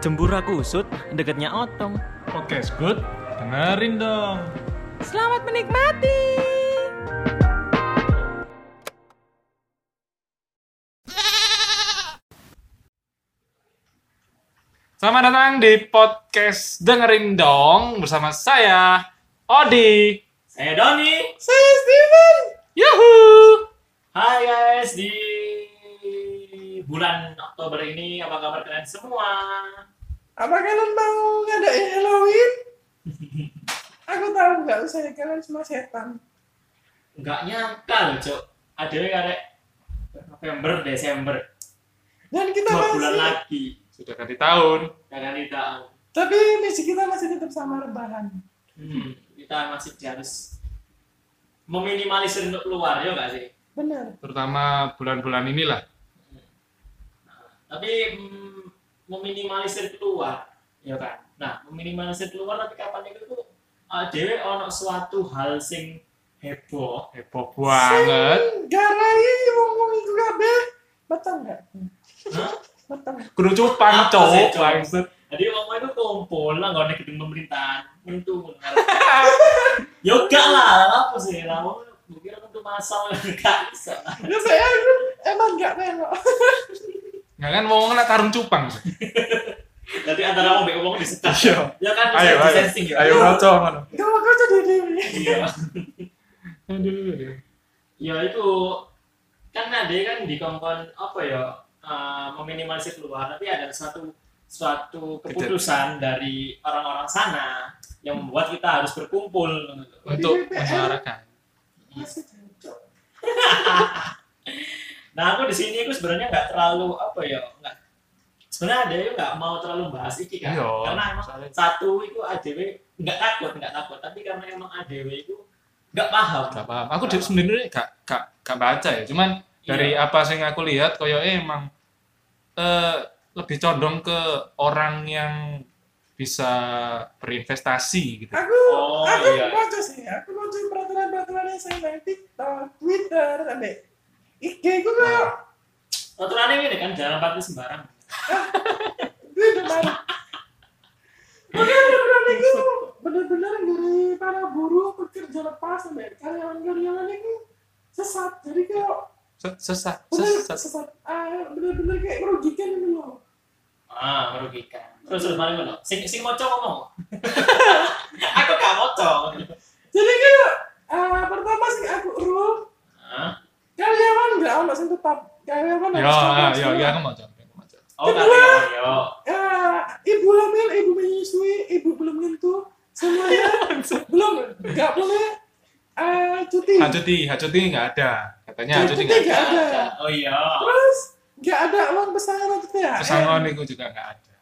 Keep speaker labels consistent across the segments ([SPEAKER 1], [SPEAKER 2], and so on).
[SPEAKER 1] Jembura kusut, deketnya otong.
[SPEAKER 2] Podcast good, dengerin dong.
[SPEAKER 3] Selamat menikmati.
[SPEAKER 2] Selamat datang di podcast dengerin dong bersama saya Odi.
[SPEAKER 4] Saya Doni.
[SPEAKER 2] Saya Steven. Yuhu.
[SPEAKER 4] Hai guys, di bulan Oktober ini apa kabar kalian semua?
[SPEAKER 5] Apa kalian mau ngadain Halloween? Aku tahu nggak usah ya kalian semua setan.
[SPEAKER 4] Nggak nyangka loh, Cok. Ada yang ada November, Desember,
[SPEAKER 5] Dan kita
[SPEAKER 4] dua bulan
[SPEAKER 5] masih,
[SPEAKER 4] lagi.
[SPEAKER 2] Sudah ganti tahun.
[SPEAKER 4] Jangan kita,
[SPEAKER 5] tapi misi kita masih tetap sama rebahan.
[SPEAKER 4] hmm, kita masih harus meminimalisir untuk keluar, ya nggak sih?
[SPEAKER 5] Bener.
[SPEAKER 2] Terutama bulan-bulan inilah.
[SPEAKER 4] Tapi mm, meminimalisir keluar, ya kan? Nah, meminimalisir keluar tapi kapan itu tuh uh, dewe ono suatu hal sing heboh
[SPEAKER 2] Heboh banget.
[SPEAKER 5] Garai wong wong itu kabeh. Betul nggak?
[SPEAKER 4] Hah?
[SPEAKER 5] Betul.
[SPEAKER 2] Kudu
[SPEAKER 4] Apa
[SPEAKER 2] cupang,
[SPEAKER 4] sih,
[SPEAKER 2] cowok.
[SPEAKER 4] Cok? Jadi ngomong itu kumpul lah nggak ada gedung pemerintahan, mentu. ya enggak lah, apa sih lah? Wong gue kira mentu masal enggak bisa.
[SPEAKER 5] Lu saya ya, aku emang nggak nengok.
[SPEAKER 2] Nggak kan mau nak tarung cupang.
[SPEAKER 4] Jadi antara wong mbek wong disetar.
[SPEAKER 2] Iya.
[SPEAKER 4] Ya kan
[SPEAKER 2] Ayo,
[SPEAKER 4] bisa
[SPEAKER 2] ayo.
[SPEAKER 4] distancing ya.
[SPEAKER 2] Ayo roco ngono.
[SPEAKER 5] Kamu kau jadi diri.
[SPEAKER 4] Iya.
[SPEAKER 2] Aduh.
[SPEAKER 4] Ya itu kan ada kan di kongkon apa ya eh, meminimalisir keluar tapi ada suatu suatu keputusan dari orang-orang sana yang membuat kita harus berkumpul
[SPEAKER 2] Untuk masyarakat.
[SPEAKER 5] Masih cocok.
[SPEAKER 4] Nah, aku di sini aku sebenarnya nggak terlalu apa ya, nggak sebenarnya ada yang nggak mau terlalu bahas iki kan,
[SPEAKER 2] Iya,
[SPEAKER 4] karena emang
[SPEAKER 2] soalnya-
[SPEAKER 4] satu itu ADW nggak takut nggak takut, tapi karena emang ADW itu nggak paham.
[SPEAKER 2] Gak paham. Aku di- sebenarnya gak, gak, gak baca ya. Cuman dari apa sih yang aku lihat, koyo emang eh, lebih condong ke orang yang bisa berinvestasi gitu.
[SPEAKER 5] Aku
[SPEAKER 4] Oh,
[SPEAKER 5] aku
[SPEAKER 4] iya.
[SPEAKER 5] baca sih. Aku baca peraturan peraturan yang saya main TikTok, Twitter, sampai IG gue kayak
[SPEAKER 4] Aturannya ini kan jangan parkir sembarang.
[SPEAKER 5] Gue udah marah. Makanya beneran itu bener-bener dari para buruh pekerja lepas sampai karyawan-karyawan itu sesat. Jadi kalau
[SPEAKER 2] Se- Sesat,
[SPEAKER 5] bener
[SPEAKER 2] sesat.
[SPEAKER 5] sesat, ah, bener-bener kayak merugikan itu loh.
[SPEAKER 4] Ah, merugikan. Terus terus mari ngono. Sing sing moco ngomong. aku gak moco.
[SPEAKER 5] Jadi kayak ah, pertama sih aku rule
[SPEAKER 4] Ah,
[SPEAKER 5] karyawan nggak ono sing tetap karyawan
[SPEAKER 2] Ya,
[SPEAKER 5] harus tetap
[SPEAKER 2] ya,
[SPEAKER 5] sekolah.
[SPEAKER 2] ya, aku mau jawab. aku mau jawab.
[SPEAKER 4] oh kali yo.
[SPEAKER 5] Ah, ibu hamil, ibu menyusui, ibu belum nyentuh, semuanya belum nggak boleh ah, cuti.
[SPEAKER 2] Hajuti, Hajuti nggak ada. Katanya Hajuti
[SPEAKER 5] Hajuti
[SPEAKER 2] nggak ada.
[SPEAKER 5] nggak ada.
[SPEAKER 4] Oh iya.
[SPEAKER 5] Terus nggak ada uang pesangon untuk THR.
[SPEAKER 2] Pesangon itu juga nggak ada.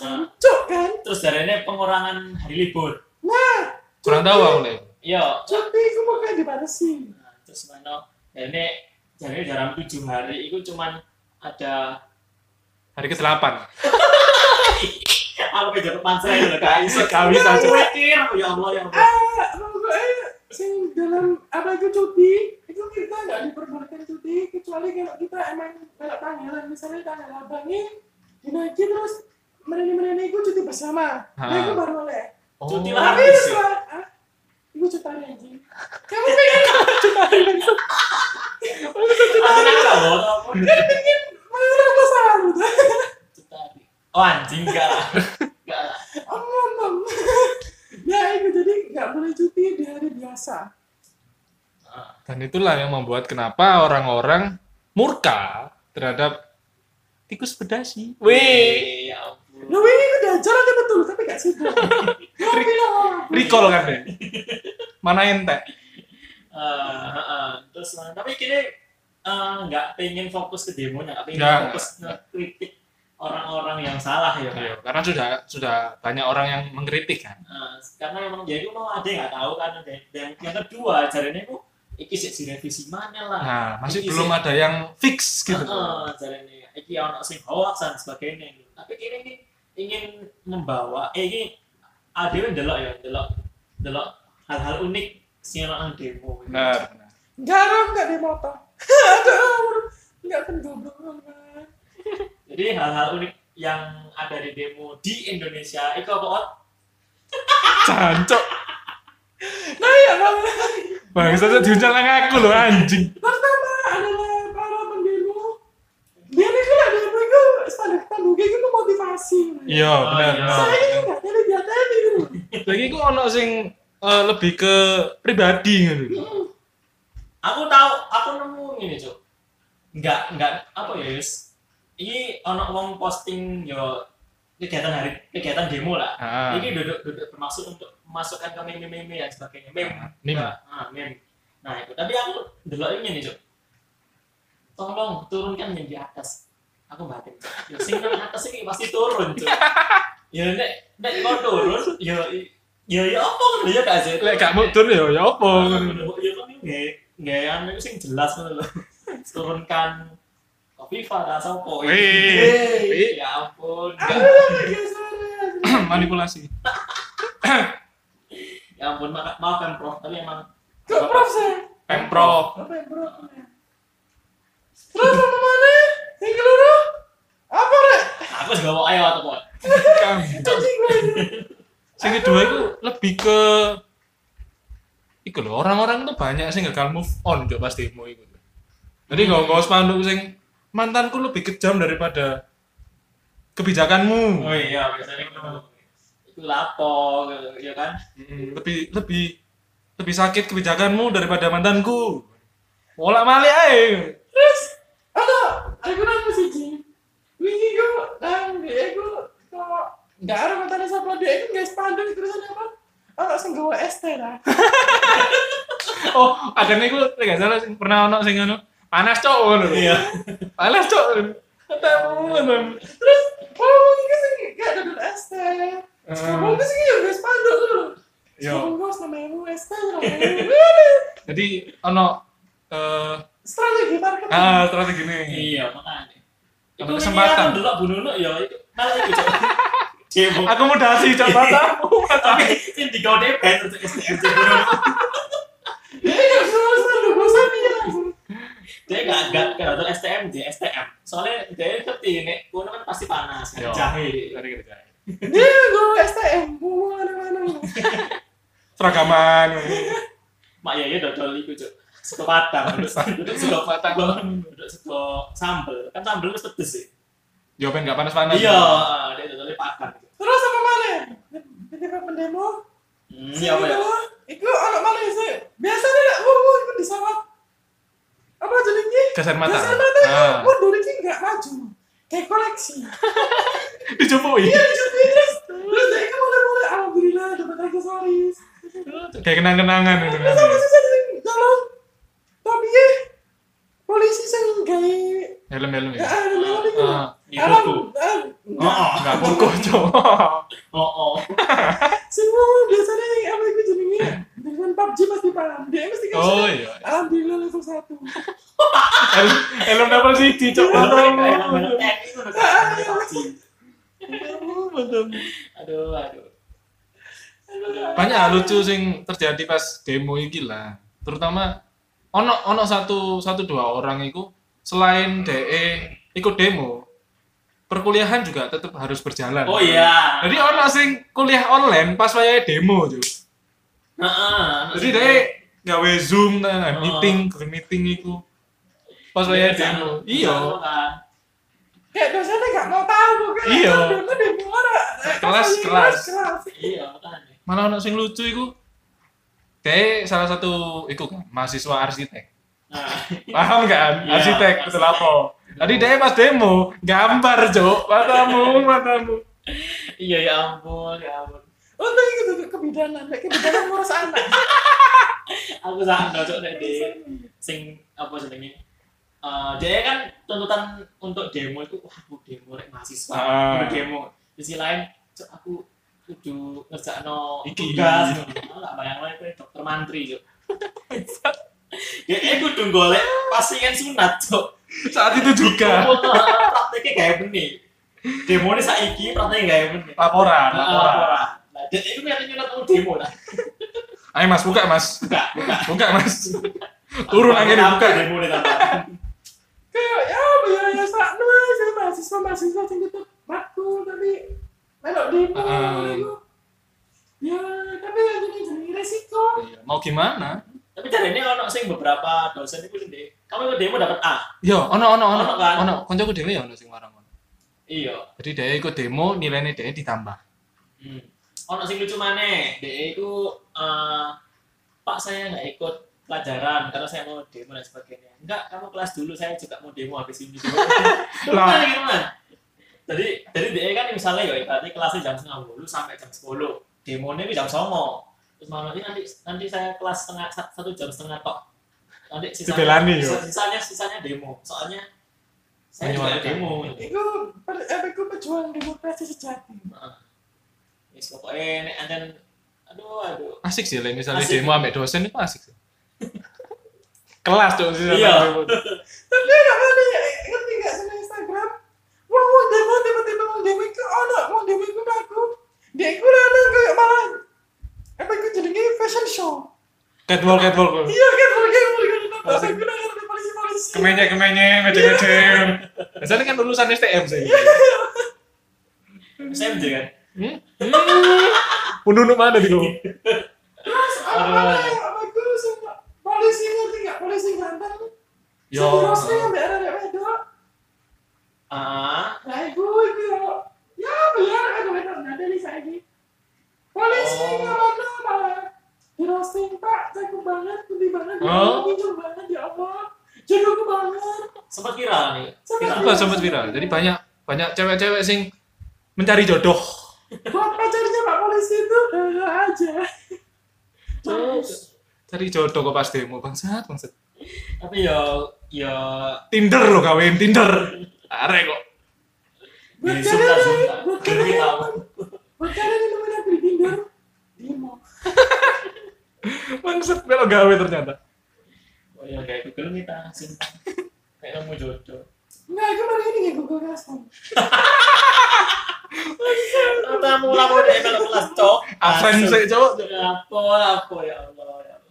[SPEAKER 4] Ah,
[SPEAKER 5] Cuk kan?
[SPEAKER 4] Terus dari ini pengurangan hari libur.
[SPEAKER 5] Nah,
[SPEAKER 2] Kurang tahu aku lah.
[SPEAKER 4] Yo,
[SPEAKER 5] cuti itu mau kayak dibatasi.
[SPEAKER 4] Nah, terus mana ya ini jadi dalam tujuh hari itu cuman ada
[SPEAKER 2] Hari ke-8.
[SPEAKER 4] aku ke jatuh pansel loh gak iso gak
[SPEAKER 2] bisa,
[SPEAKER 4] aku mikir ya Allah ya Allah
[SPEAKER 5] Ah, pokoknya sing dalam apa itu cuti itu kita nggak diperbolehkan cuti kecuali kalau kita emang kalau tanggalan misalnya tanggal abangnya dinaiki terus mereni-mereni itu cuti bersama. Nah, itu
[SPEAKER 2] Ah.
[SPEAKER 5] baru boleh.
[SPEAKER 2] Oh,
[SPEAKER 4] Cuti lah.
[SPEAKER 5] Tapi
[SPEAKER 4] Bagus,
[SPEAKER 5] itu
[SPEAKER 4] ya.
[SPEAKER 5] lah, ah, itu cuti anjing. Kamu pengen cuti anjing?
[SPEAKER 4] Tenang, loh.
[SPEAKER 5] Kamu pengen mengurangi pesangon gitu?
[SPEAKER 4] oh anjing enggak lah enggak lah
[SPEAKER 5] Om, om, om. ya itu jadi nggak boleh cuti di hari biasa.
[SPEAKER 4] Ah,
[SPEAKER 2] Dan itulah yang membuat kenapa orang-orang murka terhadap tikus pedasi. Wih,
[SPEAKER 4] eh, ya ampun
[SPEAKER 5] Lu ini udah jalan dia betul, tapi nggak sih. Lu bilang orang.
[SPEAKER 2] recall kan deh. Mana ente?
[SPEAKER 4] Ah, ah, ah. terus nah, tapi kini eh, enggak pengen fokus ke demonya enggak pengen
[SPEAKER 2] Enggak,
[SPEAKER 4] fokus ke kritik orang-orang yang salah ya kan
[SPEAKER 2] Iya, karena sudah sudah banyak orang yang mengkritik kan.
[SPEAKER 4] Nah, karena emang dia itu mau ada yang nggak tahu kan ada yang- yang yang kedua caranya itu iki sih direvisi mana lah
[SPEAKER 2] Nah, masih
[SPEAKER 4] Iya
[SPEAKER 2] belum
[SPEAKER 4] sih. Ah,
[SPEAKER 2] ada yang fix gitu.
[SPEAKER 4] Heeh, jarene iki ono sing hoax dan sebagainya gitu. Tapi kini ini ingin membawa eh ini adewe ndelok ya, ndelok ndelok hal-hal unik sing ono nang demo.
[SPEAKER 2] Benar. benar.
[SPEAKER 5] Garam nggak di motor. Aduh, nggak kan goblok banget.
[SPEAKER 4] Jadi hal-hal unik yang ada di demo di Indonesia itu apa Ot?
[SPEAKER 2] Cancok.
[SPEAKER 5] Nah ya, malah.
[SPEAKER 2] Bangsa tuh diundang nang aku loh anjing.
[SPEAKER 5] Pertama adalah para pendemo. Dia nih kalau demo itu standar standar itu motivasi.
[SPEAKER 2] Iya,
[SPEAKER 4] Oh,
[SPEAKER 2] benar.
[SPEAKER 4] iya.
[SPEAKER 2] benar.
[SPEAKER 5] Saya ini nggak jadi dia tadi gitu.
[SPEAKER 2] Lagi ku ono sing eh, lebih ke pribadi gitu.
[SPEAKER 4] Aku tahu, aku nemu ini cuk. Nggak nggak apa ya Yus? Ini ono wong posting yo kegiatan hari kegiatan demo lah.
[SPEAKER 2] Ah.
[SPEAKER 4] Ini duduk duduk bermaksud untuk memasukkan ke meme-meme dan sebagainya. Meme.
[SPEAKER 2] Meme.
[SPEAKER 4] Nah, ah, meme. Nah itu. Tapi aku delok ini nih cuk. Tolong turunkan yang di atas. Aku batin. Yo, sing nang atas ini pasti turun cuk. ya nek nek kau turun, yo yo yo apa ngono ya gak sih?
[SPEAKER 2] Lek gak mudun ya ya apa ngono.
[SPEAKER 4] Ya kan nge- ngean itu sing jelas ngono lho. Turunkan Kofifa ta sopo?
[SPEAKER 2] Wih. Wih.
[SPEAKER 4] Hei, ya ampun.
[SPEAKER 5] Aduh, lagi suara.
[SPEAKER 2] Manipulasi.
[SPEAKER 4] Ya ampun, maaf, maaf kan Prof, tapi emang
[SPEAKER 5] Kok prof saya?
[SPEAKER 2] Pemprov.
[SPEAKER 5] Apa yang bro? Terus apa mana? Yang keluru? Apa rek?
[SPEAKER 4] aku juga mau ayo atau apa?
[SPEAKER 5] Jadi gue ini.
[SPEAKER 2] Sing kedua itu lebih ke Iku loh, orang-orang tuh banyak sih gagal move on Cuk, pas demo itu. Jadi nggak nggak spanduk sing mantanku lebih kejam daripada kebijakanmu.
[SPEAKER 4] Oh iya, biasanya itu itu lapo gitu, ya kan?
[SPEAKER 2] lebih lebih lebih sakit kebijakanmu daripada mantanku bolak balik ae
[SPEAKER 5] Terus ada aku nang sih Ji. Wingi gue nang dia gue kok nggak ada mantan sama dia itu nggak standar terusan apa? Orang senggawa es teh lah.
[SPEAKER 2] oh ada nih gue nggak salah sing pernah ono sing ono panas cok ngono lho.
[SPEAKER 4] Iya.
[SPEAKER 2] panas cok ketemu ngono.
[SPEAKER 5] Terus oh ini sih nggak ada dulu es teh. Kamu gue sih nggak standar dulu.
[SPEAKER 2] Eh. Yo.
[SPEAKER 5] Kamu gue sama yang es teh lah.
[SPEAKER 2] jadi ono eh
[SPEAKER 5] Strategi marketing.
[SPEAKER 2] ah strategi nih
[SPEAKER 4] Iya, makanya. Itu
[SPEAKER 2] Dapat kesempatan.
[SPEAKER 4] kesempatan. Aku delok Bu Nunu ya itu malah itu. Cok. Demo.
[SPEAKER 2] akomodasi cok matamu
[SPEAKER 4] Tapi ini digawe band untuk STM Bu Nunu.
[SPEAKER 5] Ini nggak bisa standar gue sama dia langsung.
[SPEAKER 4] dia nggak nggak nggak ada STM dia STM soalnya dia ngerti nek kuno kan pasti panas kan
[SPEAKER 2] Yo.
[SPEAKER 4] jahe
[SPEAKER 5] Dia gue STM, gue mana-mana.
[SPEAKER 2] seragaman
[SPEAKER 4] mak ya ya dodol itu cuk sego padang duduk sego
[SPEAKER 2] Padang.
[SPEAKER 4] duduk sego sambel kan sambel itu pedes sih
[SPEAKER 2] jawaban nggak panas panas
[SPEAKER 4] iya dia dodolnya padang
[SPEAKER 5] Terus apa mana? Ketika pendemo,
[SPEAKER 4] hmm,
[SPEAKER 5] si
[SPEAKER 4] iya apa ya
[SPEAKER 5] Iku, Iku anak mana sih? Biasanya nggak mau mau ikut di sawah. Apa jadinya?
[SPEAKER 2] Gas air mata.
[SPEAKER 5] Gas mata.
[SPEAKER 2] Ah.
[SPEAKER 5] Gue dulu ini nggak maju. Kayak koleksi.
[SPEAKER 2] dicoboin
[SPEAKER 5] Iya, jadi terus terus dari itu mulai-mulai alhamdulillah dapat aksesoris.
[SPEAKER 2] kayak kenang kenangan gitu
[SPEAKER 5] Terus apa sih saya jalan? Tapi ya polisi saya nggak
[SPEAKER 2] helm helm
[SPEAKER 5] Ya,
[SPEAKER 2] ya
[SPEAKER 5] ada melon itu.
[SPEAKER 2] Ah,
[SPEAKER 4] iya,
[SPEAKER 5] Alam,
[SPEAKER 4] buku.
[SPEAKER 5] ah,
[SPEAKER 4] oh
[SPEAKER 5] enggak.
[SPEAKER 4] oh
[SPEAKER 2] nggak kukuh cok
[SPEAKER 4] oh oh
[SPEAKER 5] Semua orang biasanya yang apa itu jenenge dengan PUBG pasti paham. Dia mesti kan.
[SPEAKER 2] Oh, iya.
[SPEAKER 5] Alhamdulillah level 1.
[SPEAKER 2] Helm- helm double CD cok
[SPEAKER 4] Enak banget,
[SPEAKER 2] matamu
[SPEAKER 4] enak itu, enak. aduh aduh
[SPEAKER 2] banyak hal lucu sing terjadi pas demo iki lah terutama ono ono satu satu dua orang itu selain DE ikut demo perkuliahan juga tetap harus berjalan
[SPEAKER 4] oh iya
[SPEAKER 2] jadi ono sing kuliah online pas wayahe demo tuh
[SPEAKER 4] Nah, ah,
[SPEAKER 2] jadi DE gawe zoom nah,
[SPEAKER 4] Oh.
[SPEAKER 2] meeting ke meeting iku pas
[SPEAKER 4] Iya,
[SPEAKER 2] wayahe demo iya
[SPEAKER 4] kan.
[SPEAKER 5] Kayak dosennya nggak mau tahu kan.
[SPEAKER 2] Iya.
[SPEAKER 5] Karena dia muara. Eh,
[SPEAKER 2] Kelas,
[SPEAKER 5] kelas,
[SPEAKER 2] kelas.
[SPEAKER 5] kelas.
[SPEAKER 4] iya makanya
[SPEAKER 2] malah ono sing lucu iku DE salah satu iku kan mahasiswa arsitek
[SPEAKER 4] nah
[SPEAKER 2] paham kan
[SPEAKER 4] Iya,
[SPEAKER 2] arsitek betul
[SPEAKER 4] arsitek.
[SPEAKER 2] apa tadi dia pas demo gambar cok matamu matamu
[SPEAKER 4] iya ya ampun ya ampun
[SPEAKER 5] Untung Oh, itu tuh kebidanan, kayak kebidanan ngurus anak.
[SPEAKER 4] aku sangat cocok deh di sing apa jenenge Eh dia kan tuntutan untuk demo itu wah aku demo rek mahasiswa
[SPEAKER 2] Ah.
[SPEAKER 4] aku demo di sisi lain cok aku kudu ngerjakno
[SPEAKER 2] Iki.
[SPEAKER 4] tugas ngono lah bayang lain kowe dokter mantri cok dia kudu golek pasien sunat cok
[SPEAKER 2] saat itu juga
[SPEAKER 4] Kumpul, eh, prakteknya kayak gini demo ini saiki prakteknya kayak gini
[SPEAKER 2] laporan laporan
[SPEAKER 4] laporan nah dia itu yang nyunat aku demo lah
[SPEAKER 2] ayo mas buka mas
[SPEAKER 4] buka buka
[SPEAKER 2] buka mas turun akhirnya buka
[SPEAKER 4] demo ini tambah
[SPEAKER 5] Kayak ya apa ya ya sakno aja mahasiswa mahasiswa sing tetep mak melok di
[SPEAKER 2] Ah.
[SPEAKER 5] itu ya tapi yang ini jadi resiko
[SPEAKER 2] Iya, Mau gimana?
[SPEAKER 4] Tapi dari ini ono sing beberapa dosen itu sendiri. Kamu ikut demo dapat A.
[SPEAKER 2] Yo, ono ono ono
[SPEAKER 4] Ono kan?
[SPEAKER 2] ono koncoku dhewe ya ono sing marang ngono.
[SPEAKER 4] Iya.
[SPEAKER 2] Jadi dia ikut demo, nilainya dia ditambah.
[SPEAKER 4] Hmm. Ono sing lucu maneh, DE itu eh, Pak saya nggak ikut pelajaran karena saya mau demo dan sebagainya. Enggak, kamu kelas dulu saya juga mau demo habis ini dulu.
[SPEAKER 2] Lah.
[SPEAKER 4] Lah, gitu kan. Jadi jadi DE kan misalnya ya berarti kelasnya jam 9.30 sampai jam 10. Demonya ini jam 09.00. Terus malam ini nanti nanti saya kelas setengah satu jam setengah tok. Nanti sisanya,
[SPEAKER 2] Dibelani, yo.
[SPEAKER 4] sisanya, sisanya demo. Soalnya saya juga
[SPEAKER 2] Menyuarakan.
[SPEAKER 4] demo.
[SPEAKER 5] itu per, eh, itu pejuang demokrasi sejati
[SPEAKER 4] Wis Nah. pokoknya nek anten aduh aduh.
[SPEAKER 2] Asik sih, like, misalnya
[SPEAKER 4] Asik.
[SPEAKER 2] demo ambek dosen itu asik sih. Kelas dong sih.
[SPEAKER 4] Iya.
[SPEAKER 5] tapi ada ada ya ngerti nggak sama Instagram mau mau demo tiba-tiba mau demo itu ono mau demo itu aku dia itu rana kayak malah apa itu jadinya fashion show
[SPEAKER 2] Catwalk catwalk.
[SPEAKER 5] iya kan mereka yang mereka
[SPEAKER 2] Masih-
[SPEAKER 5] tapi aku nggak polisi polisi
[SPEAKER 2] kemenye kemenye ngede ngede biasanya kan lulusan STM sih
[SPEAKER 5] Iya.
[SPEAKER 4] SMJ kan.
[SPEAKER 2] hmm? Undunu mana gitu? di lu?
[SPEAKER 5] terus apa
[SPEAKER 4] Aduh.
[SPEAKER 5] lagi apa itu sama polisi ngerti nggak polisi ganteng
[SPEAKER 4] Ya.
[SPEAKER 2] Yo.
[SPEAKER 5] Satu rosnya yang daerah daerah itu
[SPEAKER 4] Ah,
[SPEAKER 5] nah itu itu ya benar ada benar ada di saya ini polisi
[SPEAKER 4] Oh.
[SPEAKER 5] nggak malah di roasting pak cakep banget putih banget ya
[SPEAKER 2] Oh.
[SPEAKER 5] Allah hijau banget ya Allah jodohku banget
[SPEAKER 4] sempat viral nih.
[SPEAKER 5] Sempat
[SPEAKER 4] Viral.
[SPEAKER 2] Aku sempat viral. Jadi banyak banyak cewek-cewek sing mencari jodoh.
[SPEAKER 5] buat pacarnya pak polisi itu eh, aja
[SPEAKER 4] Terus
[SPEAKER 2] Cari jodoh kok pas demo bangsat bangsat.
[SPEAKER 4] tapi yo yo
[SPEAKER 2] Tinder lo kawin Tinder. Are kok.
[SPEAKER 5] buat
[SPEAKER 4] Di
[SPEAKER 5] kalian
[SPEAKER 4] Zumba,
[SPEAKER 5] yang-
[SPEAKER 4] Zumba.
[SPEAKER 5] buat kalian
[SPEAKER 4] Kita
[SPEAKER 5] yang
[SPEAKER 4] tahu.
[SPEAKER 5] buat kalian yang temen aku di Tinder demo
[SPEAKER 2] Bangsat melo gawe ternyata.
[SPEAKER 4] oh ya kayak Google kita sing kayak kamu jodoh.
[SPEAKER 5] nggak aku malah ini nggak Google Classroom
[SPEAKER 4] Ternyata mau lapor di email kelas cok.
[SPEAKER 2] Aven sih cowok.
[SPEAKER 4] Apa apa ya Allah ya Allah.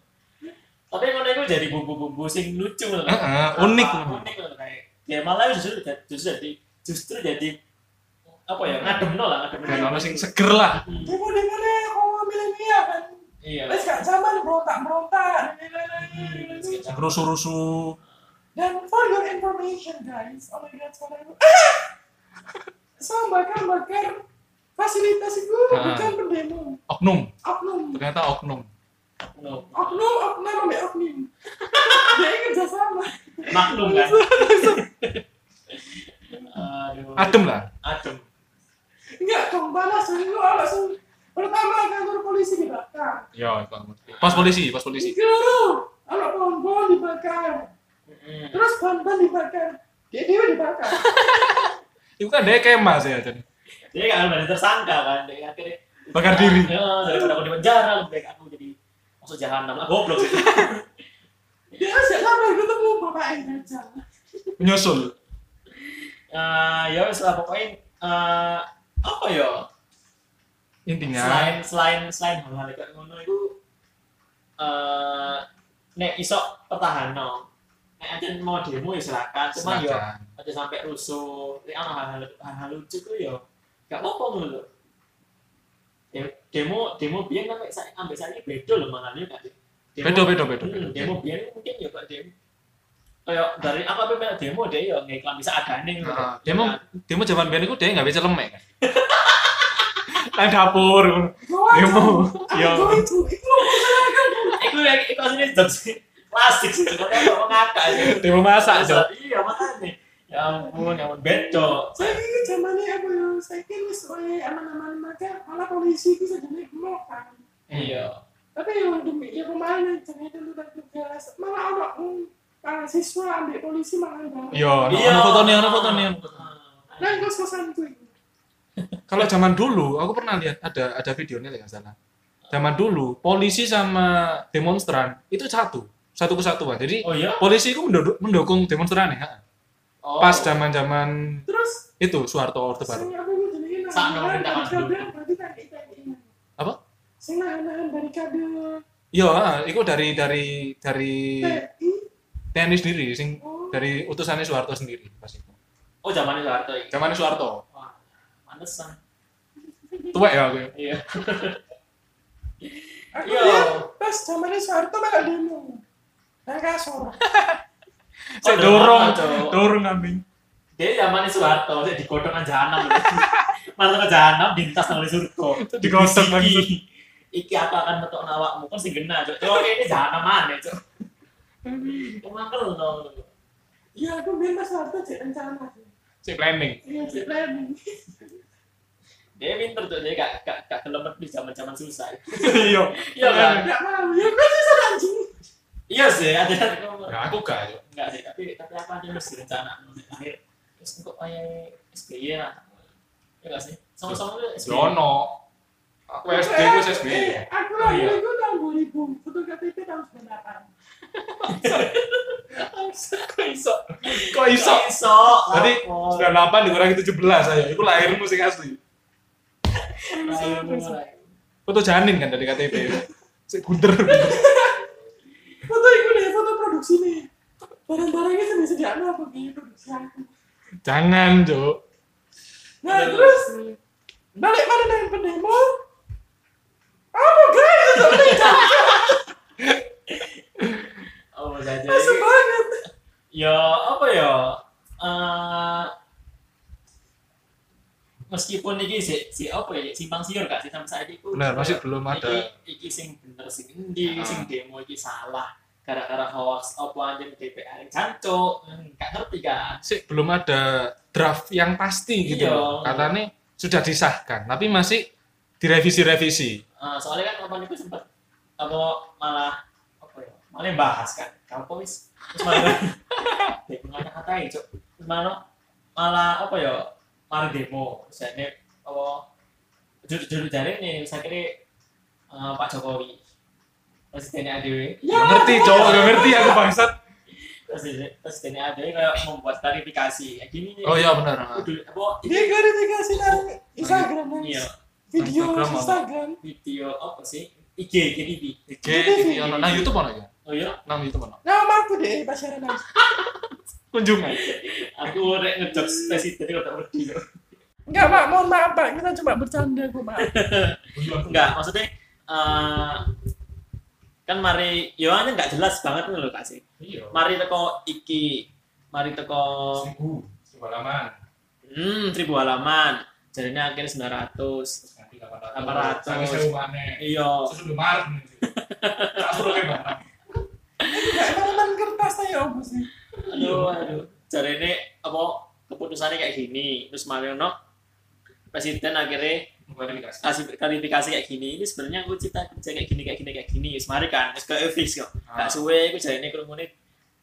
[SPEAKER 4] Tapi ngono iku jadi bumbu-bumbu sing lucu loh.
[SPEAKER 2] Heeh, unik.
[SPEAKER 4] Unik loh kayak. Ya malah justru justru jadi justru jadi apa ya ngademno lah ngademno.
[SPEAKER 2] Dan ono sing seger lah.
[SPEAKER 4] Hmm,
[SPEAKER 5] demo demo nih orang milenial kan
[SPEAKER 4] Iya.
[SPEAKER 5] Wes gak zaman berontak berontak
[SPEAKER 2] Rusuh-rusuh.
[SPEAKER 5] Dan for your information guys, oh my god, suara aku. Ah! Sama bakar-bakar fasilitas itu
[SPEAKER 2] Ah.
[SPEAKER 5] bukan pendemo.
[SPEAKER 2] Oknum.
[SPEAKER 5] Oknum,
[SPEAKER 2] Ternyata oknum.
[SPEAKER 4] No.
[SPEAKER 5] oknum, oknum, ambil oknum. Jadi kerja sama.
[SPEAKER 4] maklum kan aduh
[SPEAKER 2] Adem lah.
[SPEAKER 4] adem
[SPEAKER 5] Enggak, dong balas dari lu langsung. Pertama kantor polisi dibakar.
[SPEAKER 4] Ya,
[SPEAKER 2] Yo, pas polisi, pas polisi.
[SPEAKER 5] Guru, anak pohon-pohon dibakar. Terus ban-ban dibakar. Dia dia dibakar.
[SPEAKER 2] Itu kan dia kemah sih Aden.
[SPEAKER 4] dia kan berarti tersangka kan dia akhirnya
[SPEAKER 2] Bakar diri.
[SPEAKER 4] Ya, daripada aku di penjara lebih baik aku jadi masuk jahanam lah Eh, goblok sih
[SPEAKER 5] Dia siapa yang ketemu bapak yang ngajak.
[SPEAKER 2] Menyusul.
[SPEAKER 4] Eh, ya wes lah pokoknya eh, apa ya
[SPEAKER 2] Intinya.
[SPEAKER 4] selain selain selain hal-hal kayak ngono itu eh nek isok pertahanan nek anjen mau demo ya silakan cuma yo
[SPEAKER 2] silakan.
[SPEAKER 4] aja sampai rusuh ini ono hal-hal hal-hal lucu tuh ya gak apa-apa ngono lho De- demo demo biyen sampai saya sampai saya beda lho makanya gak di- demo-
[SPEAKER 2] Beda, beda, beda,
[SPEAKER 4] Hmm,
[SPEAKER 2] beda.
[SPEAKER 4] demo biyen mungkin ya kok demo kayak dari apa apa kayak demo deh ya ngiklan bisa adane ngono lho.
[SPEAKER 2] Nah, dia mau dia mau zaman biar aku dia nggak bisa lemek kan. Nang dapur. Demo.
[SPEAKER 5] Demo.
[SPEAKER 2] Yo.
[SPEAKER 5] Aku itu, itu lo
[SPEAKER 4] itu yang itu aslinya jam sih klasik sih cuma dia nggak mau ngakak sih
[SPEAKER 2] Demo masak
[SPEAKER 4] Masa-
[SPEAKER 2] dong.
[SPEAKER 4] iya makanya ya ampun ya ampun bedo
[SPEAKER 5] saya ini zamannya apa ya saya ini sesuai aman-aman maka malah polisi itu sejenis gemokan
[SPEAKER 4] iya
[SPEAKER 5] tapi yang demi ya kemana jangan itu udah jelas malah anak para siswa ambil polisi malah banget
[SPEAKER 2] Yo, ono foto nih, ono foto nih. ono foto.
[SPEAKER 5] nah
[SPEAKER 4] Ah.
[SPEAKER 5] itu kosanku ini
[SPEAKER 2] Kalau zaman dulu, aku pernah lihat ada ada videonya nggak salah. Zaman dulu, polisi sama demonstran itu satu, satu kesatuan. Jadi
[SPEAKER 4] oh iya
[SPEAKER 2] polisi itu mendu- mendukung demonstran ya.
[SPEAKER 4] Oh.
[SPEAKER 2] Pas zaman-zaman
[SPEAKER 5] terus
[SPEAKER 2] itu Soeharto Orde Baru.
[SPEAKER 5] saya apa itu jadi
[SPEAKER 4] Saat nomor kita harus
[SPEAKER 5] barikade
[SPEAKER 4] duduk.
[SPEAKER 5] berarti tadi tadi
[SPEAKER 2] Apa?
[SPEAKER 5] saya nahan-nahan barikade
[SPEAKER 2] Iya, ah, itu dari dari dari
[SPEAKER 5] TI
[SPEAKER 2] TNI sendiri, sing
[SPEAKER 5] Oh.
[SPEAKER 2] dari utusannya Soeharto sendiri pas itu.
[SPEAKER 4] oh zamannya Soeharto ya
[SPEAKER 2] Zamannya Soeharto.
[SPEAKER 4] Wah, pantesan.
[SPEAKER 2] tuwek ya
[SPEAKER 5] Oh,
[SPEAKER 2] aku ya.
[SPEAKER 4] Iya.
[SPEAKER 5] Aku
[SPEAKER 4] Iya.
[SPEAKER 5] lihat pas zamannya Soeharto malah demo. Nang kasur.
[SPEAKER 2] Saya
[SPEAKER 4] Oh,
[SPEAKER 2] dorong,
[SPEAKER 5] Ah,
[SPEAKER 4] cowok.
[SPEAKER 2] dorong kambing.
[SPEAKER 4] Dia zaman Soeharto, dia digodong kan jahanam. Marah ke jahanam, dintas nang surga.
[SPEAKER 2] Digodong lagi.
[SPEAKER 4] Iki- Iki aku akan metok nawakmu kan sing genah, Cok. Cok, ini jahanam mana, Cok. Emang keren dong.
[SPEAKER 5] Iya, aku biar pas Soeharto cek rencana.
[SPEAKER 2] Cek planning.
[SPEAKER 5] Iya, cek planning.
[SPEAKER 4] Dia pinter tuh, dia gak gak gak kelemet di zaman-zaman susah.
[SPEAKER 2] Iya.
[SPEAKER 4] Iya kan?
[SPEAKER 5] Enggak mau. Ya kan susah anjing.
[SPEAKER 4] Iya sih, ada yang
[SPEAKER 2] Nah, aku gak yo.
[SPEAKER 4] Enggak sih, tapi tapi apa aja mesti rencana menurut akhir. Terus untuk kayak SBY lah. Ya enggak sih? Sama-sama tuh SBY.
[SPEAKER 2] Yono. Aku SD, aku SD.
[SPEAKER 5] Eh, Aku
[SPEAKER 4] Oh,
[SPEAKER 5] lagi
[SPEAKER 4] iya.
[SPEAKER 5] itu tahun 2000. Foto KTP tahun 98.
[SPEAKER 4] Kok iso?
[SPEAKER 2] Kok iso?
[SPEAKER 4] Kok iso?
[SPEAKER 2] Berarti
[SPEAKER 5] Oh,
[SPEAKER 4] Lapor.
[SPEAKER 2] 98 dikurangi 17 ayo. Itu lahirmu sing asli.
[SPEAKER 4] Mulai, mulai.
[SPEAKER 2] Foto janin kan dari KTP. Sik gunter.
[SPEAKER 5] Foto itu deh, foto produksi nih. Barang-barangnya sampai sediaan apa gini produksi aku.
[SPEAKER 2] Jangan, Cuk.
[SPEAKER 5] Nah, terus balik mana dengan pendemo? Apa guys? Itu
[SPEAKER 4] Oh, jadi
[SPEAKER 5] Masuk banget.
[SPEAKER 4] ya apa ya? Eh meskipun ini si, si apa ya simpang siur gak sih sama saya itu
[SPEAKER 2] Benar, masih belum ada.
[SPEAKER 4] iki, iki sing bener sing endi
[SPEAKER 2] Ah.
[SPEAKER 4] sing demo iki salah gara-gara hoax apa anjing DPR yang jancuk Hmm, gak ngerti kan
[SPEAKER 2] Sik belum ada draft yang pasti gitu.
[SPEAKER 4] Iya.
[SPEAKER 2] loh. Katanya sudah disahkan, tapi masih direvisi-revisi.
[SPEAKER 4] Eh, soalnya kan kapan itu sempat apa malah apa ya malah yang bahas kan kamu wis terus malah dia ngata katain cok terus malah malah apa ya malah demo terus jadi apa jujur jujur jadi nih saya kira eh, Pak Jokowi presidennya ADW
[SPEAKER 5] Ya,
[SPEAKER 2] Gak ngerti, cowok gak ngerti aku bangsat.
[SPEAKER 4] presiden presidennya ADW kayak membuat klarifikasi ya gini nih
[SPEAKER 2] Oh iya kan? benar.
[SPEAKER 4] kudu- apa
[SPEAKER 5] Dia klarifikasi dari Instagram
[SPEAKER 4] iya
[SPEAKER 5] guys. Video
[SPEAKER 2] Instagram apa?
[SPEAKER 5] Instagram.
[SPEAKER 4] video apa sih IG GTV
[SPEAKER 2] IG TV ono nang YouTube ono ya?
[SPEAKER 4] oh iya
[SPEAKER 2] Nang YouTube ono.
[SPEAKER 5] Nama Nah, aku deh, pasaran aku.
[SPEAKER 2] Kunjungan.
[SPEAKER 4] aku rek ngejok presiden kok tak wedi kok.
[SPEAKER 5] Enggak, Pak. Mohon maaf, Pak. Kita cuma bercanda kok, Pak.
[SPEAKER 4] Enggak, maksudnya eh kan mari Yohane enggak jelas banget nih lho Kak sih.
[SPEAKER 2] Iya.
[SPEAKER 4] Mari teko iki, mari teko
[SPEAKER 2] Seminggu, semalaman.
[SPEAKER 4] hmm 1000 halaman. Jadinya akhirnya 900.
[SPEAKER 2] Nanti
[SPEAKER 4] 800.
[SPEAKER 2] Sampai sewu maneh.
[SPEAKER 4] Iya.
[SPEAKER 2] Terus udah Maret. Tak suruh kan, ke barang.
[SPEAKER 5] Enggak, teman kertas saya apa sih?
[SPEAKER 4] Aduh, aduh. Jadinya apa keputusannya kayak gini. Terus mari ono presiden akhirnya
[SPEAKER 2] Klarifikasi.
[SPEAKER 4] kasih klarifikasi kayak gini ini sebenarnya aku cita kerja kayak gini kayak gini kayak gini Wis mari kan terus ke fix kok
[SPEAKER 2] Ah.
[SPEAKER 4] gak suwe aku jadi ini kerumunin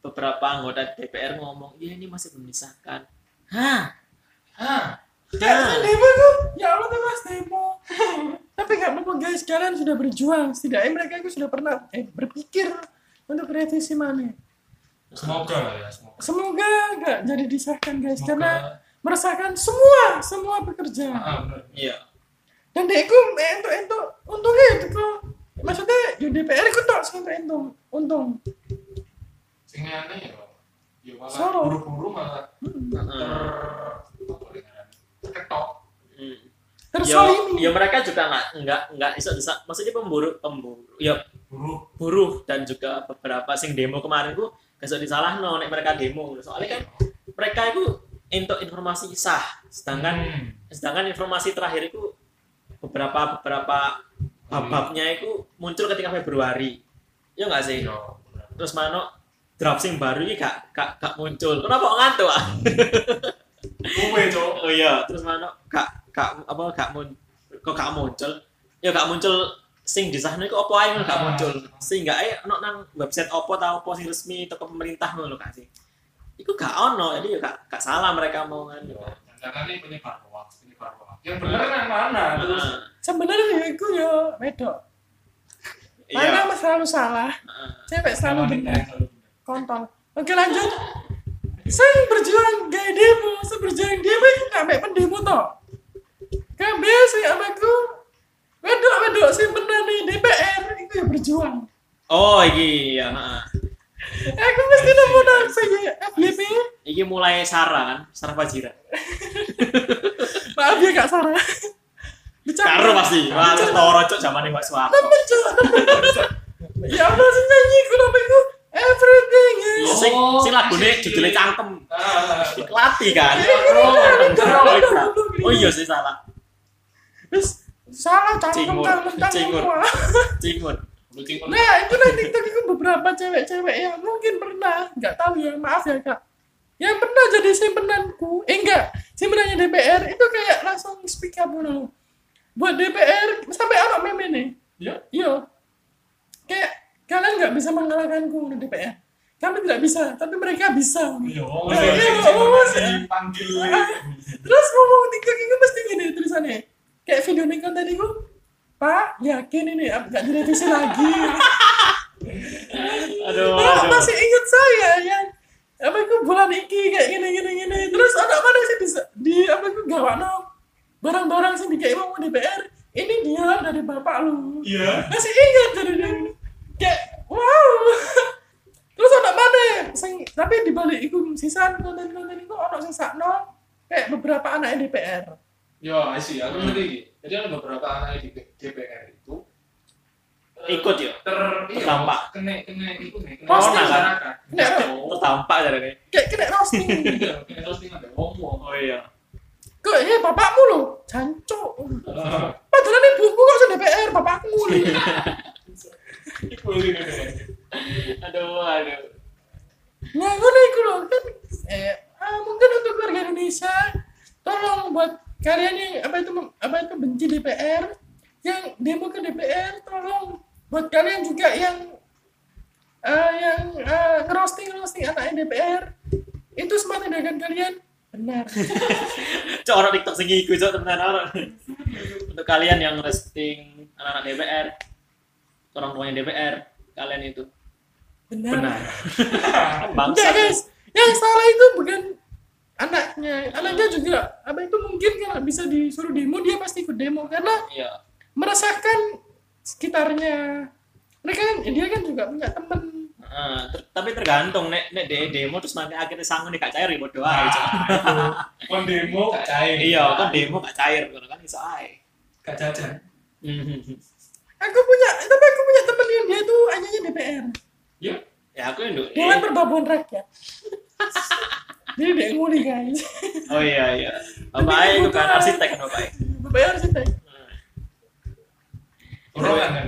[SPEAKER 4] beberapa anggota DPR ngomong iya ini masih belum disahkan hah
[SPEAKER 2] Hah, Nah.
[SPEAKER 5] Kayak
[SPEAKER 4] Hah?
[SPEAKER 5] kan demo tuh. Ya Allah, tuh Mas demo. Tapi enggak apa-apa, guys. Kalian sudah berjuang. Setidaknya mereka itu sudah pernah eh, berpikir untuk revisi mana.
[SPEAKER 2] semoga lah ya, semoga.
[SPEAKER 5] Semoga enggak jadi disahkan, guys.
[SPEAKER 2] Semoga.
[SPEAKER 5] Karena meresahkan semua, semua pekerja.
[SPEAKER 2] Ah, benar.
[SPEAKER 4] iya
[SPEAKER 5] dan dekku entuk entuk untungnya ya dekku maksudnya di DPR ku tok sing entuk entuk untung
[SPEAKER 2] Sing aneh ya. Ya malah
[SPEAKER 5] Soro.
[SPEAKER 2] buru-buru malah ter apa ya, terketok.
[SPEAKER 4] Hmm.
[SPEAKER 5] tersolimi
[SPEAKER 4] ya mereka juga nggak nggak nggak iso disa- maksudnya pemburu pemburu ya
[SPEAKER 2] Buru.
[SPEAKER 4] buruh dan juga beberapa sing demo kemarin ku besok disalah no nek mereka demo soalnya kan mereka itu untuk informasi sah sedangkan
[SPEAKER 2] Hmm.
[SPEAKER 4] sedangkan informasi terakhir itu beberapa beberapa bab-babnya itu muncul ketika Februari ya nggak sih
[SPEAKER 2] Iya.
[SPEAKER 4] terus mano draft sing baru ini gak, gak, gak muncul kenapa kok ngantuk ah
[SPEAKER 2] Kowe, Cok.
[SPEAKER 4] oh iya terus mano gak gak apa gak mun kok gak muncul ya gak muncul sing di sana itu apa aja gak muncul sehingga eh ono nang website opo tau opo sing resmi toko pemerintah ngono gak sih itu gak ono jadi ya gak, gak salah mereka mau nganu
[SPEAKER 2] Jangan ini penyebar hoax, penyebar hoax. Yang benar yang mana? Terus
[SPEAKER 4] Heeh,
[SPEAKER 5] sebenarnya aku ya wedok
[SPEAKER 4] iya ah.
[SPEAKER 5] anak selalu salah
[SPEAKER 4] heeh.
[SPEAKER 5] cewek
[SPEAKER 2] Sama
[SPEAKER 5] selalu
[SPEAKER 2] kita
[SPEAKER 5] benar
[SPEAKER 2] yang selalu benar.
[SPEAKER 5] kontol oke lanjut saya berjuang gak demo saya berjuang demo itu gak mek pendemo tok kabeh sing anakku wedok wedok sing benar nih DPR itu ya berjuang
[SPEAKER 4] oh iya heeh.
[SPEAKER 5] aku mesti nemu ya. nang sing FDP
[SPEAKER 4] Iki mulai Sarah kan, Sarah Fajira.
[SPEAKER 5] maaf ya kak Sarah bercanda
[SPEAKER 4] pasti. Wah, lu toro cok zaman Mbak Suwarto.
[SPEAKER 5] Temen cok, temen cok. Ya Allah sih nyanyi ku nama itu everything is.
[SPEAKER 4] Sing
[SPEAKER 2] Oh,
[SPEAKER 4] sing lagune
[SPEAKER 2] asik.
[SPEAKER 4] judule cangkem.
[SPEAKER 2] Ah,
[SPEAKER 4] Lati kan. Oh iya sih salah. Terus
[SPEAKER 5] Salah cangkem
[SPEAKER 4] Cingur,
[SPEAKER 5] cangkem cangkem.
[SPEAKER 4] cingur.
[SPEAKER 5] wah.
[SPEAKER 4] cingun.
[SPEAKER 2] lucu kan?
[SPEAKER 5] Nah itu lah TikTok itu beberapa cewek-cewek yang mungkin pernah nggak tahu ya maaf ya kak. Yang pernah jadi simpenanku, eh enggak, simpenannya DPR itu kayak langsung speak up dulu. Buat DPR sampai anak meme nih.
[SPEAKER 2] Iya.
[SPEAKER 5] Iya. Kayak kalian nggak bisa mengalahkanku di DPR. Kami tidak bisa, tapi mereka bisa.
[SPEAKER 2] Iya,
[SPEAKER 5] Nah,
[SPEAKER 2] iya,
[SPEAKER 5] iya,
[SPEAKER 2] iya,
[SPEAKER 5] oh,
[SPEAKER 2] iya,
[SPEAKER 5] iya.
[SPEAKER 2] dipanggil.
[SPEAKER 5] Terus ngomong TikTok itu pasti gini tulisannya. Kayak video Nikon tadi gue, Pak, yakin ini ya, nggak direvisi lagi.
[SPEAKER 4] Aduh,
[SPEAKER 5] Pak,
[SPEAKER 4] aduh.
[SPEAKER 5] masih ingat saya yang apa itu bulan iki kayak gini gini gini. Terus anak mana sih di, di apa itu gawano barang-barang sih kayak mau DPR. Ini dia dari bapak lu.
[SPEAKER 2] Iya.
[SPEAKER 5] masih ingat dari dia kayak wow terus anak mana sing tapi di balik itu sisaan konten konten itu anak sing sakno kayak beberapa anak DPR
[SPEAKER 2] Yo, Iya, I see. Aku ngerti. Jadi ada beberapa anak di DPR itu eh,
[SPEAKER 4] Ikut ya?
[SPEAKER 2] Ter iya,
[SPEAKER 4] Terdampak.
[SPEAKER 2] Kena kena ikut nih. Kena
[SPEAKER 5] Pasti.
[SPEAKER 2] masyarakat.
[SPEAKER 5] Kena.
[SPEAKER 2] Oh,
[SPEAKER 4] Tertampak jadi ini.
[SPEAKER 5] kayak kena roasting
[SPEAKER 2] iya, kena terus tinggal ada wong-wong.
[SPEAKER 4] ya? Oh iya.
[SPEAKER 5] kok ya bapakmu lo jancok padahal ibuku kok sing DPR bapakku lho.
[SPEAKER 2] Iku ini, ini, ini.
[SPEAKER 4] Aduh, aduh.
[SPEAKER 5] Nah, ngono iku lho kan eh ah, mungkin untuk warga Indonesia tolong buat kalian yang apa itu mem- apa itu benci DPR yang demo ke DPR tolong buat kalian juga yang eh, yang eh, ngerosting ngerosting anaknya DPR itu semua tindakan kalian benar
[SPEAKER 4] Cok orang TikTok sing iku cok temenan orang. Untuk kalian yang resting anak-anak DPR, orang tuanya DPR, kalian itu
[SPEAKER 5] benar,
[SPEAKER 4] benar.
[SPEAKER 5] Enggak,
[SPEAKER 4] Bangsa.
[SPEAKER 5] guys yang salah itu bukan anaknya anaknya juga apa itu mungkin kalau bisa disuruh demo dia pasti ikut demo karena
[SPEAKER 4] Iya.
[SPEAKER 5] meresahkan sekitarnya mereka kan dia kan juga punya temen
[SPEAKER 4] Heeh, ter- tapi tergantung nek nek de demo terus nanti akhirnya sanggup nih gak cair ya bodo ae.
[SPEAKER 5] Nah.
[SPEAKER 4] Cok.
[SPEAKER 2] Ah, itu. Kon demo gak cair.
[SPEAKER 4] Iya, kan demo gak cair ngono kan iso ae.
[SPEAKER 2] Gak jajan.
[SPEAKER 5] Hmm. aku punya tapi aku punya temen yang dia tuh anyanya DPR
[SPEAKER 2] Iya.
[SPEAKER 4] Ya aku yang nduk.
[SPEAKER 5] Dewan kan Perbabuan Rakyat jadi dia nguli guys
[SPEAKER 4] Oh iya iya. Bapak ae itu kan arsitek kan bapak ae.
[SPEAKER 5] bayar sih teh
[SPEAKER 2] Urusan kan.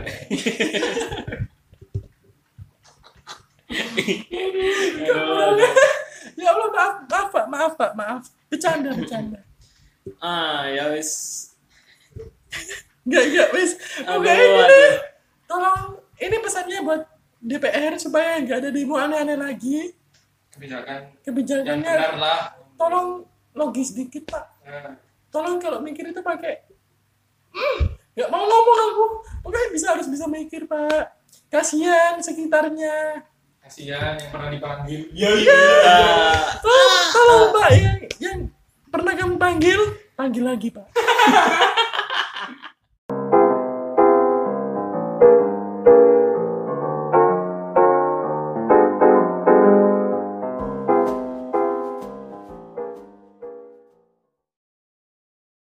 [SPEAKER 4] Aduh, aduh.
[SPEAKER 5] ya Allah maaf maaf pak maaf pak maaf bercanda bercanda
[SPEAKER 4] Ah, ya wis.
[SPEAKER 5] Gak, gak, wis.
[SPEAKER 4] Aduh,
[SPEAKER 5] Oke, ini
[SPEAKER 4] aduh.
[SPEAKER 5] deh. Tolong, ini pesannya buat DPR supaya nggak ada demo aneh-aneh lagi.
[SPEAKER 2] Kebijakan yang benar
[SPEAKER 5] Kebijakannya,
[SPEAKER 2] lah.
[SPEAKER 5] tolong logis dikit, Pak.
[SPEAKER 2] Eh,
[SPEAKER 5] tolong kalau mikir itu pakai "Hmm, nggak mau ngomong aku pokoknya bisa harus bisa mikir pak kasihan sekitarnya
[SPEAKER 2] Kasihan yang pernah dipanggil. Ya, iya.
[SPEAKER 4] Ah,
[SPEAKER 5] tolong tolong pak yang yang pernah kamu panggil panggil lagi pak